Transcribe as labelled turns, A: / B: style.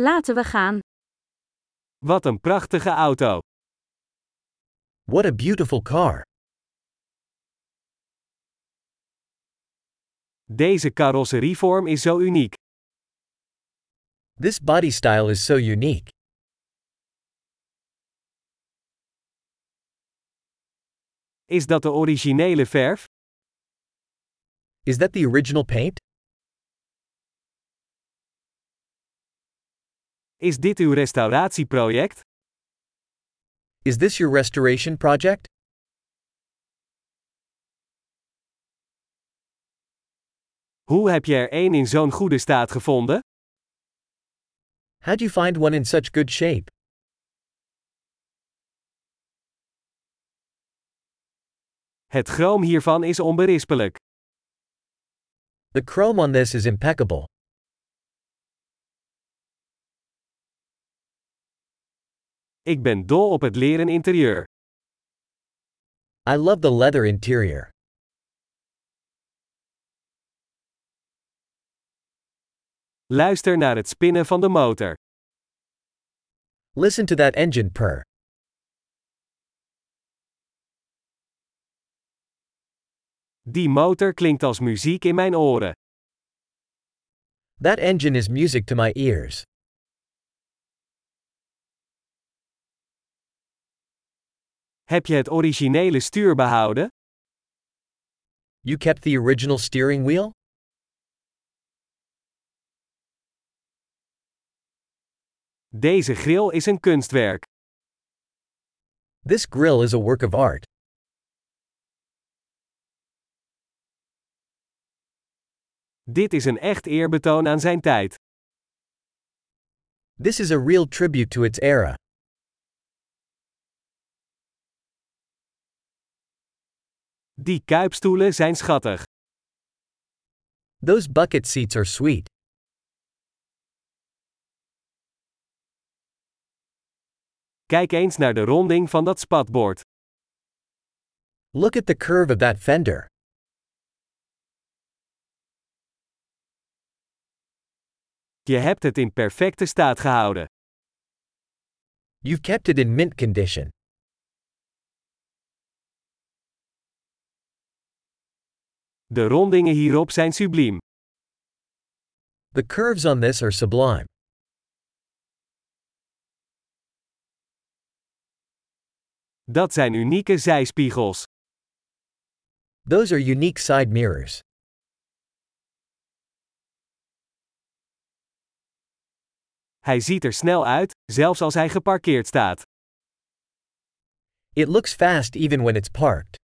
A: Laten we gaan.
B: Wat een prachtige auto.
C: What a beautiful car.
B: Deze carrosserievorm is zo uniek.
C: This body style is so unique.
B: Is dat de originele verf?
C: Is that the original paint?
B: Is dit uw restauratieproject?
C: Is this your restoration project?
B: Hoe heb je er één in zo'n goede staat gevonden?
C: How'd you find one in such good shape?
B: Het chroom hiervan is onberispelijk.
C: The chrome on this is impeccable.
B: Ik ben dol op het leren interieur.
C: I love the leather interior.
B: Luister naar het spinnen van de motor.
C: Listen to that engine purr.
B: Die motor klinkt als muziek in mijn oren.
C: That engine is music to my ears.
B: Heb je het originele stuur behouden?
C: You kept the original steering wheel?
B: Deze grill is een kunstwerk.
C: This grill is a work of art.
B: Dit is een echt eerbetoon aan zijn tijd.
C: This is a real tribute to its era.
B: Die kuipstoelen zijn schattig.
C: Those bucket seats are sweet.
B: Kijk eens naar de ronding van dat spatbord.
C: Look at the curve of that fender.
B: Je hebt het in perfecte staat gehouden.
C: You've kept it in mint condition.
B: De rondingen hierop zijn subliem.
C: The curves on this are sublime.
B: Dat zijn unieke zijspiegels.
C: Those are unique side mirrors.
B: Hij ziet er snel uit, zelfs als hij geparkeerd staat.
C: It looks fast even when it's parked.